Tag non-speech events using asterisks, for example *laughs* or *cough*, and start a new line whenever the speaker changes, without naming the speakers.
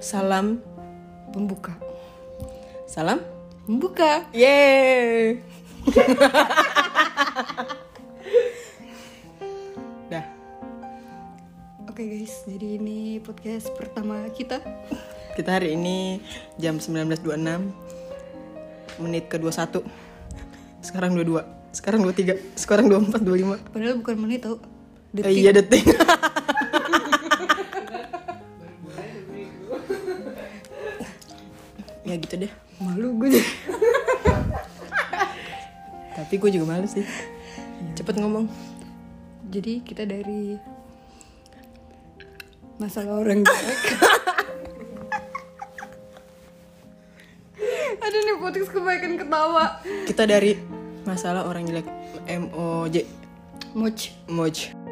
Salam
Pembuka.
Salam
Membuka.
Yeay *laughs* Dah
Oke guys, jadi ini podcast pertama kita.
Kita hari ini jam 19.26 Menit ke-21 Sekarang 22 Sekarang 23 Sekarang 24, 25
Padahal bukan menit tau.
Eh, Iya detik *laughs* Ya gitu deh
Malu gue. *laughs*
Tapi gue juga males sih Cepet ngomong
jadi kita dari masalah orang *laughs* jelek. Ada nih podcast kebaikan ketawa.
Kita dari masalah orang jelek M O J
Moch.
Moj